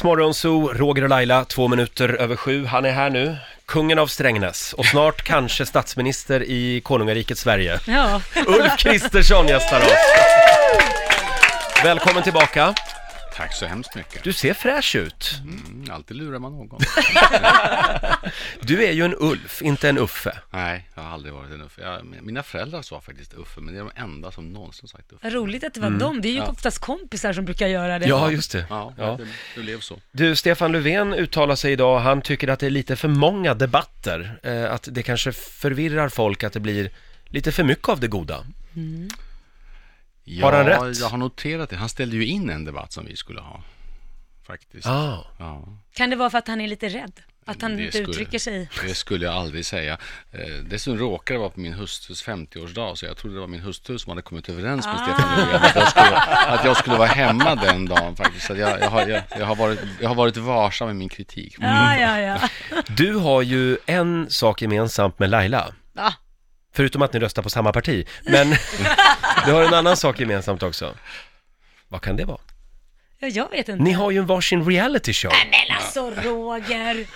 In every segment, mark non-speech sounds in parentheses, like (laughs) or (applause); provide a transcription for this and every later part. Riksmorgonzoo, Roger och Laila, två minuter över sju. Han är här nu, kungen av Strängnäs och snart kanske statsminister i konungariket Sverige. (laughs) Ja, Ulf Kristersson gästar oss. Välkommen tillbaka. Tack så hemskt mycket. Du ser fräsch ut. Mm, alltid lurar man någon. Du är ju en Ulf, inte en Uffe. Nej, jag har aldrig varit en Uffe. Jag, mina föräldrar sa faktiskt Uffe, men det är de enda som någonsin sagt Uffe. roligt att det var dem. Det är ju oftast kompisar som brukar göra det. Ja, just det. Ja, Ja. Det, det blev så. Du, Stefan Löfven uttalar sig idag. Han tycker att det är lite för många debatter. Eh, att det kanske förvirrar folk, att det blir lite för mycket av det goda. Ja, Har han rätt? Jag har noterat det. Han ställde ju in en debatt som vi skulle ha. Faktiskt. Ah. Ja, Kan det vara för att han är lite rädd? Att han det Mm. inte uttrycker sig? Det skulle jag aldrig säga. Eh, dessutom råkade det vara på min hustrus 50-årsdag, så jag trodde det var min hustru som hade kommit överens med Stefan Löfven att, jag skulle- att jag skulle vara hemma den dagen faktiskt. Så att jag, jag, har, jag, jag, har varit, jag har varit varsam i min kritik. Ja, ja, ja. Du har ju en sak gemensamt med Laila. Va? Förutom att ni röstar på samma parti. Men (laughs) du har en annan sak gemensamt också. Vad kan det vara? Ja, jag vet inte. Ni har ju en varsin reality show. Men alltså Roger!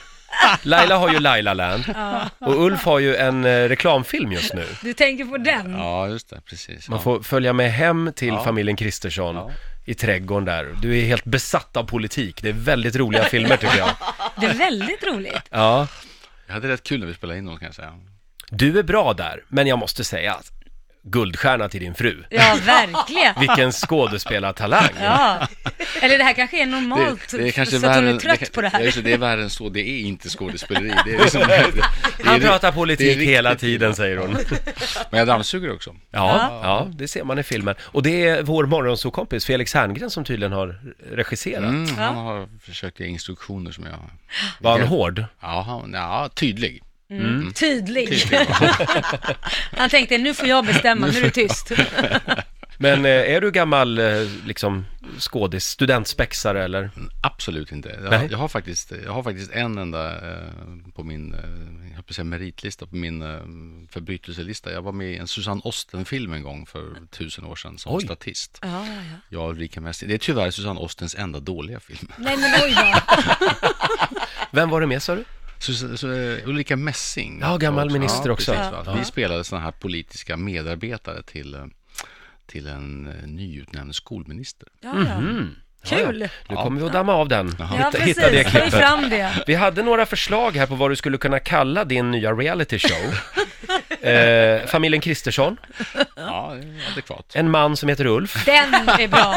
Laila har ju Lailaland och Ulf har ju en eh, reklamfilm just nu. Du tänker på den? Ja, just det. Precis. Man Ja. får följa med hem till Ja. familjen Kristersson Ja. i trädgården där. Du är helt besatt av politik. Det är väldigt roliga filmer tycker jag. Det är väldigt roligt. Ja. Jag hade rätt kul när vi spelade in dem kan jag säga. Du är bra där, men jag måste säga att guldstjärna till din fru. Ja, verkligen. Vilken skådespelartalang! Ja. Eller det här kanske är Det, normalt, det är kanske så att hon värre, är trött det, på det här. Ja, just det, det är värre än så, det är inte skådespeleri. Det är (laughs) liksom, det, det är, Han pratar politik riktigt- hela tiden, säger hon. Ja, Men jag dammsuger också. ja. det ser man i filmen. Och det är vår morgonsåkompis Felix Herngren som tydligen har regisserat. Mm, han har försökt ge instruktioner som jag... Var han hård? Ja, han, ja tydlig. (laughs) Mm. Tydlig. Han tänkte, nu får jag bestämma, nu är du tyst. Men eh, är du gammal eh, liksom, skådis, studentspexare eller? Absolut inte. Nej. Jag, jag, har faktiskt, jag har faktiskt en enda eh, på min eh, jag höll på att säga meritlista, på min eh, förbrytelselista. Jag var med i en Susanne Osten-film en gång för tusen år sedan som Oj. statist. Ja, ja, ja. Jag och Ulrika Messing. Det är tyvärr Susanne Ostens enda dåliga film. Nej men oj då. Vem var det med sa du? Sus- så, eh, Ulrika Messing. Ja, gammal minister också. precis, va? Ja. Vi spelade sådana här politiska medarbetare till, eh, till en eh, nyutnämnd skolminister. Ja, ja. Kul! Nu kommer vi att damma av den. Ja, Hitta, precis. hitta det Ta (laughs) klippet. fram det. Vi hade några förslag här på vad du skulle kunna kalla din nya reality (laughs) show. Eh, familjen Kristersson, Ja, det är adekvat. en man som heter Ulf, Den är bra.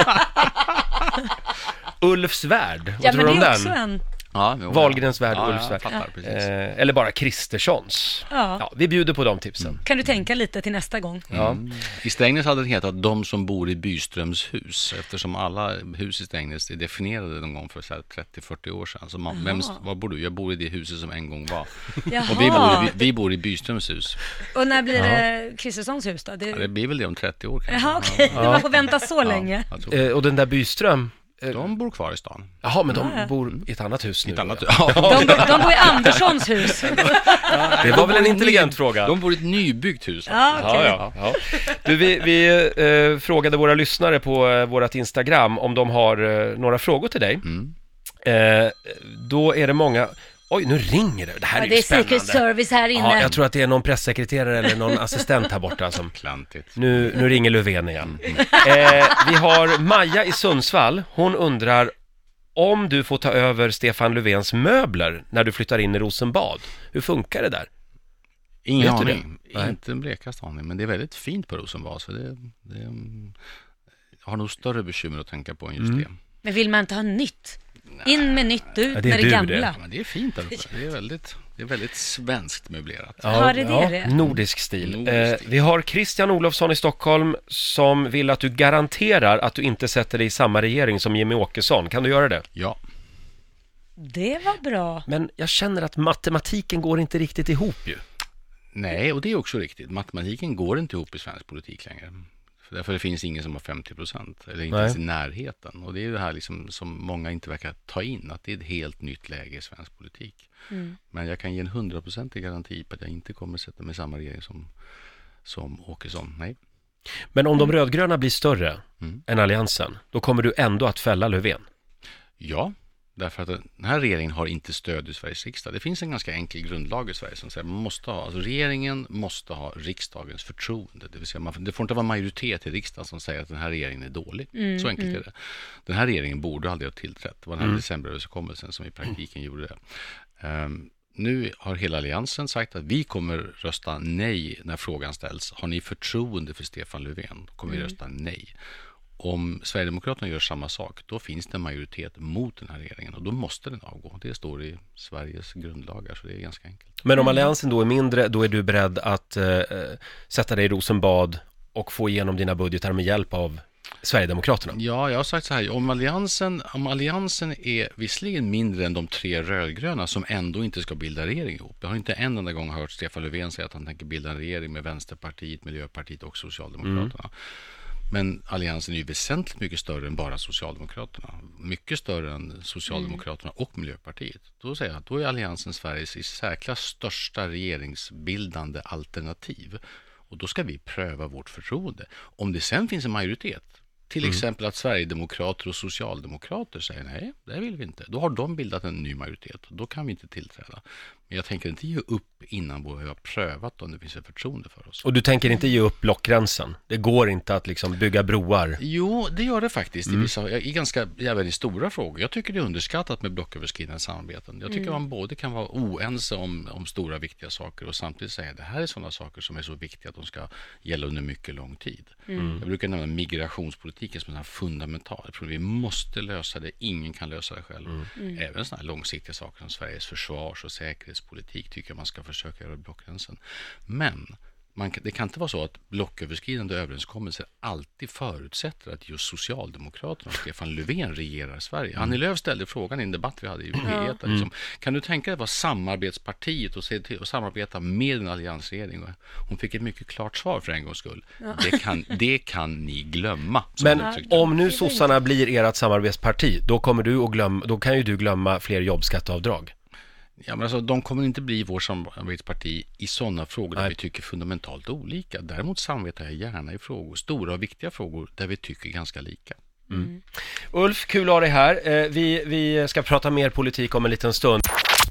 Ulfs värld. Vad Ja, tror men du det om är den? också en... Ja, jo, Wahlgrens värld, ja, Ulfs jag värld. fattar, precis. Eh, eller bara Kristerssons. Ja. Mm. Ja, vi bjuder på de tipsen. Kan du tänka lite till (laughs) nästa gång? Ja. I Strängnäs hade den hetat De som bor i Byströms hus eftersom alla hus i Strängnäs är definierade någon gång för så här 30-40 år sedan. Så man, vem, var bor du? Jag bor i det huset som en gång var. Jaha. Och vi bor, i- vi, vi bor i Byströms hus. Och när blir det Kristerssons hus då? Ja, det Det... blir väl det om 30 år kanske. Jaha, okej. Man får vänta så länge. Ja, jag tror. Eh, och den där Byström, eh, De bor kvar i stan. jaha men de bor i ett annat hus nu. Ett annat, (laughs) ja. De, bor- de bor i Anderssons hus. Det var väl en intelligent fråga. De bor i ett nybyggt hus. Ja, okej. Ja, ja. Du, vi vi eh, frågade våra lyssnare på eh, vårt Instagram om de har eh, några frågor till dig. Eh, då är det många... Oj, nu ringer det. Det här Ja, är det ju är spännande. Secret Service här Ja, inne. jag tror att det är någon pressekreterare eller någon assistent här borta som... Klantigt. Nu, nu ringer Löfven igen. Eh, vi har Maja i Sundsvall. Hon undrar om du får ta över Stefan Löfvens möbler när du flyttar in i Rosenbad. Hur funkar det där? Ingen Vet du aning. Nej. Inte en blekaste aning, men det är väldigt fint på Rosenbad. Så det, det, mm, jag har nog större bekymmer att tänka på än Mm. just det. Men vill man inte ha nytt? In med nytt, ut Ja, med det är det du gamla. Ja, men det är fint där uppe. Det är väldigt, det är väldigt svenskt möblerat. Har det det det? Nordisk stil. Nordisk eh, stil. vi har Christian Olofsson i Stockholm som vill att du garanterar att du inte sätter dig i samma regering som Jimmy Åkesson. Kan du göra det? Ja, Det var bra. Men jag känner att matematiken går inte riktigt ihop ju. nej, och det är också riktigt. Matematiken går inte ihop i svensk politik längre. För därför det finns ingen som har 50 procent, eller inte Nej. ens i närheten. Och det är ju det här liksom, som många inte verkar ta in, att det är ett helt nytt läge i svensk politik. Men jag kan ge en hundraprocentig garanti på att jag inte kommer sätta mig i samma regering som, som Åkesson. Nej. Men om de Mm. rödgröna blir större än alliansen, då kommer du ändå att fälla Löfven. Ja, Därför att den här regeringen har inte stöd i Sveriges riksdag. Det finns en ganska enkel grundlag i Sverige som säger att man måste ha, alltså regeringen måste ha riksdagens förtroende. Det vill säga, man, det får inte vara majoritet i riksdagen som säger att den här regeringen är dålig. Så enkelt är det. Den här regeringen borde aldrig ha tillträtt. Det var den här decemberöverenskommelsen som i praktiken gjorde det. Ehm, nu har hela alliansen sagt att vi kommer rösta nej när frågan ställs. Har ni förtroende för Stefan Löfven? Då kommer vi rösta nej. Om Sverigedemokraterna gör samma sak, då finns det en majoritet mot den här regeringen och då måste den avgå. Det står i Sveriges grundlagar, så det är ganska enkelt. Men om alliansen då är mindre, då är du beredd att eh, eh, sätta dig i Rosenbad och få igenom dina budgetar med hjälp av Sverigedemokraterna. Ja, jag har sagt så här, om alliansen, om alliansen är visserligen mindre än de tre rödgröna som ändå inte ska bilda regering ihop. Jag har inte en enda gång hört Stefan Löfven säga att han tänker bilda en regering med Vänsterpartiet, Miljöpartiet och Socialdemokraterna. Men alliansen är ju väsentligt mycket större än bara Socialdemokraterna. Mycket större än Socialdemokraterna och Miljöpartiet. Då säger jag att då är alliansen Sveriges i särklass största regeringsbildande alternativ. Och då ska vi pröva vårt förtroende. Om det sen finns en majoritet, till exempel att Sverigedemokrater och Socialdemokrater säger nej, det vill vi inte. Då har de bildat en ny majoritet och då kan vi inte tillträda. Men jag tänker inte ge upp innan vi har prövat om det finns ett förtroende för oss. Och du tänker inte ge upp blockgränsen? Det går inte att liksom bygga broar? Jo, det gör det faktiskt i vissa, i ganska, även i stora frågor. Jag tycker det är underskattat med blocköverskridande samarbeten. Jag tycker man både kan vara oense om, om stora viktiga saker och samtidigt säga det här är sådana saker som är så viktiga att de ska gälla under mycket lång tid. Jag brukar nämna migrationspolitiken som en fundamental problem. Vi måste lösa det, ingen kan lösa det själv. Även sådana här långsiktiga saker som Sveriges försvars och säkerhetspolitik tycker jag man ska försöka göra över blockgränsen. Men man, kan- det kan inte vara så att blocköverskridande överenskommelser alltid förutsätter att just Socialdemokraterna och Stefan Löfven regerar Sverige. Mm. Annie Lööf ställde frågan i en debatt vi hade i P1. att Liksom, kan du tänka dig att vara samarbetspartiet och, se till, och samarbeta med en alliansregering? Och Hon fick ett mycket klart svar för en gångs skull. Det, kan, det kan ni glömma. som Men hon uttryckte det. om nu sossarna blir ert samarbetsparti, då, kommer du att glöm, då kan ju du glömma fler jobbskatteavdrag. Ja, men alltså, de kommer inte bli vårt samarbetsparti i sådana frågor där Nej. vi tycker fundamentalt olika. Däremot samarbetar jag gärna i frågor, stora och viktiga frågor, där vi tycker ganska lika. Ulf, kul att ha dig här. Eh, Vi, vi ska prata mer politik om en liten stund.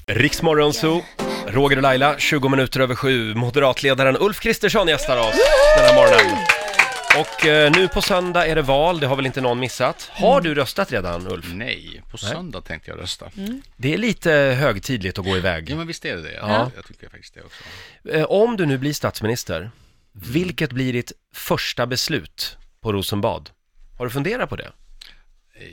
Riksmorgon Zoo, Roger och Laila, 20 minuter över sju. Moderatledaren Ulf Kristersson gästar oss den här morgonen. Och eh, nu på söndag är det val, det har väl inte någon missat. Har du röstat redan, Ulf? Nej, på söndag tänkte jag rösta. Det är lite högtidligt att gå iväg. Ja, men visst är det det. Ja. Jag tycker faktiskt det också. Eh, Om du nu blir statsminister, vilket blir ditt första beslut på Rosenbad? Har du funderat på det? Eh,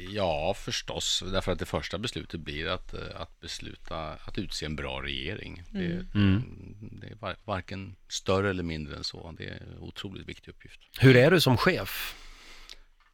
Ja, förstås. Därför att det första beslutet blir att, eh, att besluta att utse en bra regering. Det, det är var- varken större eller mindre än så. Det är en otroligt viktig uppgift. Hur är du som chef?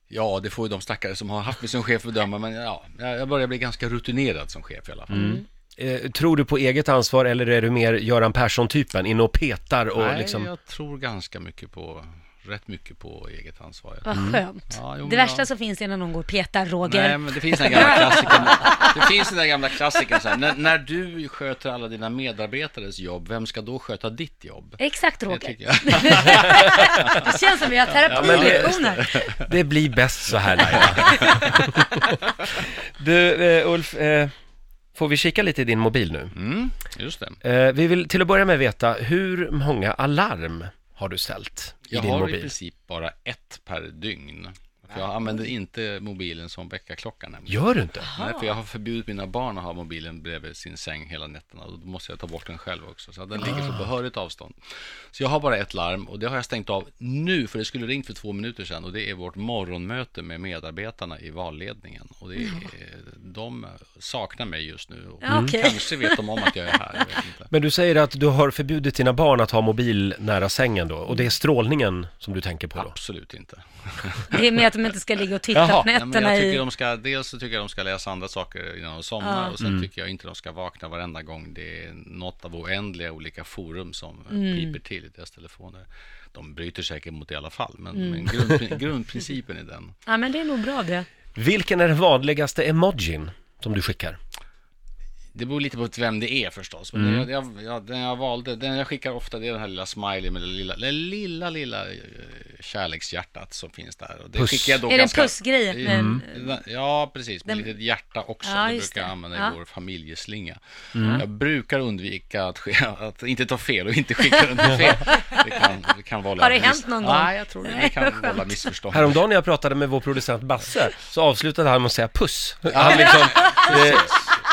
Ja, det får ju de stackare som har haft mig som chef bedöma, men ja, jag jag börjar bli ganska rutinerad som chef i alla fall. Eh, tror du på eget ansvar eller är du mer Göran Persson-typen, in och petar och Nej, liksom... jag tror ganska mycket på, rätt mycket på eget ansvar. Jag Vad Mm. skönt. Ja, jo, men det värsta jag- som finns är när någon går och petar Roger. Nej, men det finns den gamla klassikern. Det finns den där gamla klassikern. Så här, när, när du sköter alla dina medarbetares jobb, vem ska då sköta ditt jobb? Exakt Det Roger. tycker jag. Det känns som vi har terapilektioner. (laughs) Det blir bäst så här Laila. (laughs) du, eh, Ulf, eh, får vi kika lite i din mobil nu? Mm, just det. Eh, vi vill till att börja med veta, hur många alarm har du ställt i Jag din har i mobil? princip bara ett per dygn. För jag använder inte mobilen som väckarklocka nämligen. Gör du inte? Nej, för jag har förbjudit mina barn att ha mobilen bredvid sin säng hela nätterna och då måste jag ta bort den själv också. Så att den Ah. ligger på behörigt avstånd. Så jag har bara ett larm och det har jag stängt av nu för det skulle ringt för två minuter sedan och det är vårt morgonmöte med medarbetarna i valledningen. Och det är, de saknar mig just nu och Mm. Ja, okej. kanske vet de om att jag är här. Jag (laughs) vet inte. Men du säger att du har förbjudit dina barn att ha mobil nära sängen då, och det är strålningen som du tänker på då? Absolut inte. Det är med att de inte ska ligga och titta Jaha. på Nej, men nätterna jag tycker i... de ska, dels så tycker jag de ska läsa andra saker innan de somnar och sen tycker jag inte de ska vakna varenda gång det är något av oändliga olika forum som mm. piper till i deras telefoner. De bryter säkert mot det i alla fall, men, men grundprin- (laughs) grundprincipen är den. Ja, men det är nog bra det. Vilken är den vanligaste emojin som du skickar? Det beror lite på vem det är förstås. Men jag, jag, jag, den jag valde, den jag skickar ofta, det är den här lilla smiley med det lilla, det lilla, lilla eh, kärlekshjärtat som finns där. Och det Puss. skickar jag då Är det en ganska... Mm. pussgrej? med en- Ja, precis. Med Den- litet hjärta också. Ja, det just brukar jag det. använda Ja. i vår familjeslinga. Mm. Jag brukar undvika att, ske, att inte ta fel och inte skicka den till fel. Det kan, det kan vålla Har det hänt någon gång? Nej, jag tror det. Det Nej, vad kan skönt. vålla missförstånd. Häromdagen när jag pratade med vår producent Basse så avslutade han med att säga puss. Han (laughs) liksom, eh,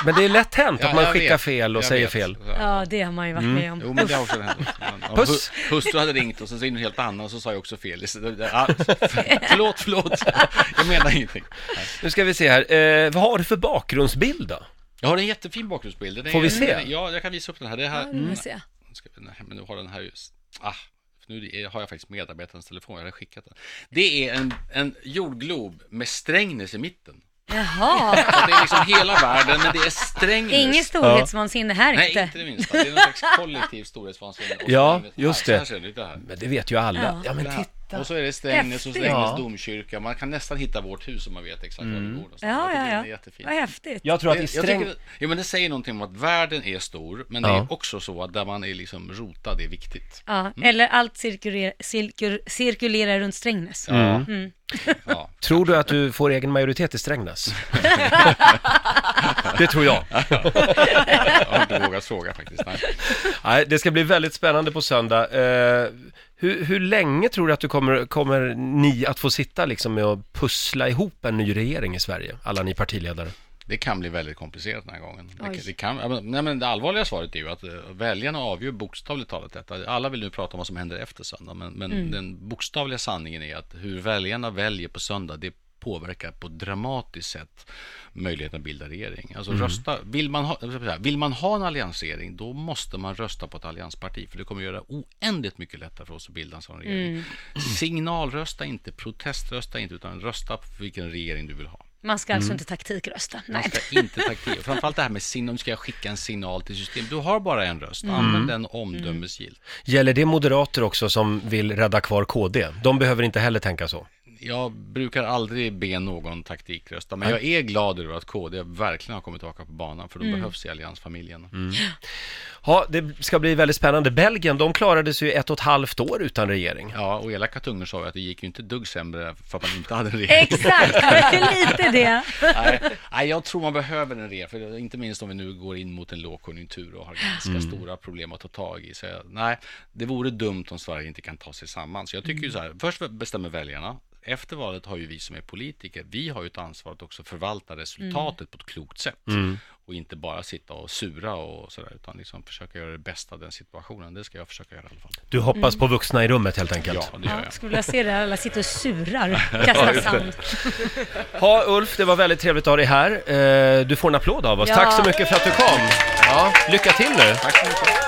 men det är lätt hänt Ja, att man jag skickar vet. fel och Jag säger vet. fel. Ja. Ja, det har man ju varit med om. Mm. Jo, men det har också hänt. Ja, Puss. hu- Hustru hade ringt och sen så in helt annan och så sa jag också fel. Ja, förlåt, förlåt. Jag menar ingenting. Nu ska vi se här, eh, vad har du för bakgrundsbild då? Jag har en jättefin bakgrundsbild. Den är- Får vi se? Ja, jag kan visa upp den här. Det här. Ja, det vill jag se. Ska vi, nej, men nu har den här just... Ah, för nu är- har jag faktiskt medarbetarens telefon. Jag hade skickat den. Det är en, en jordglob med Strängnäs i mitten. (laughs) Jaha, Så det är liksom hela världen, men det är Strängnäs. inget storhetsvansinne här Nej, inte. inte det minsta. Det är någon slags kollektiv storhetsvansinne. Och Ja, Strängnäs- just Så här det. ser ut det här. Men det vet ju alla. Ja. Ja, men Ja. titta. Och så är det Strängnäs och Häftigt. Strängnäs Ja. domkyrka. Man kan nästan hitta vårt hus om man vet exakt var vi bor. någonstans. Jag Ja, tycker ja, Den är ja. jättefin. Vad häftigt. Jag Mm. tror att i Jag Sträng... tycker, ja, men det säger någonting om att världen är stor, men det Ja. är också så att där man är liksom rotad är viktigt. Ja, eller allt cirkulerar, cirkur, cirkulerar runt Strängnäs. Mm. Ja. Mm. Ja. Tror du att du får egen majoritet i (laughs) Strängnäs? det tror jag. Jag har inte vågat fråga faktiskt. Nej. Nej, det ska bli väldigt spännande på söndag. Eh, hur, hur länge tror du att du kommer, kommer ni att få sitta liksom med att pussla ihop en ny regering i Sverige, alla ni partiledare? Det kan bli väldigt komplicerat den här gången. Oj. Det, det, kan, ja, men- nej, men det allvarliga svaret är ju att eh, väljarna avgör bokstavligt talat detta. Alla vill nu prata om vad som händer efter söndag, men, men den bokstavliga sanningen är att hur väljarna väljer på söndag, det påverkar på ett dramatiskt sätt möjligheten att bilda regering. Alltså rösta, vill, man ha, jag ska säga, vill man ha en alliansregering, då måste man rösta på ett alliansparti, för det kommer göra oändligt mycket lättare för oss att bilda en sån regering. Signalrösta inte, proteströsta inte, utan rösta på vilken regering du vill ha. Man ska alltså inte taktikrösta. Nej. Mm. Man ska inte taktik. Framförallt det här med signal, nu ska jag skicka en signal till systemet. Du har bara en röst, använd den omdömesgillt. Gäller det moderater också som vill rädda kvar KD? De behöver inte heller tänka så. Jag brukar aldrig be någon taktikrösta, men jag är glad över att KD verkligen har kommit tillbaka på banan, för de behövs i alliansfamiljen. Ja, det ska bli väldigt spännande. Belgien, de klarade sig ju ett och ett halvt år utan regering. Ja, och elaka tungor sa ju att det gick ju inte ett dugg sämre för att man inte hade en regering. (laughs) Exakt, det är lite det. Nej, nej, jag tror man behöver en regering, för det- inte minst om vi nu går in mot en lågkonjunktur och har ganska stora problem att ta tag i. Så jag, nej, det vore dumt om Sverige inte kan ta sig samman. Så jag tycker ju så här, först bestämmer väljarna, efter valet har ju vi som är politiker, vi har ju ett ansvar att också förvalta resultatet på ett klokt sätt. Och inte bara sitta och sura och sådär, utan liksom försöka göra det bästa av den situationen. Det ska jag försöka göra i alla fall. Du hoppas på vuxna i rummet helt enkelt. Ja, det gör Ja, jag. skulle vilja se det här, alla sitter och (laughs) surar, kastar sand. Ha Ulf, det var väldigt trevligt att ha dig här. Eh, Du får en applåd av oss. Ja. Tack så mycket för att du kom. Ja, lycka till nu. Tack så mycket.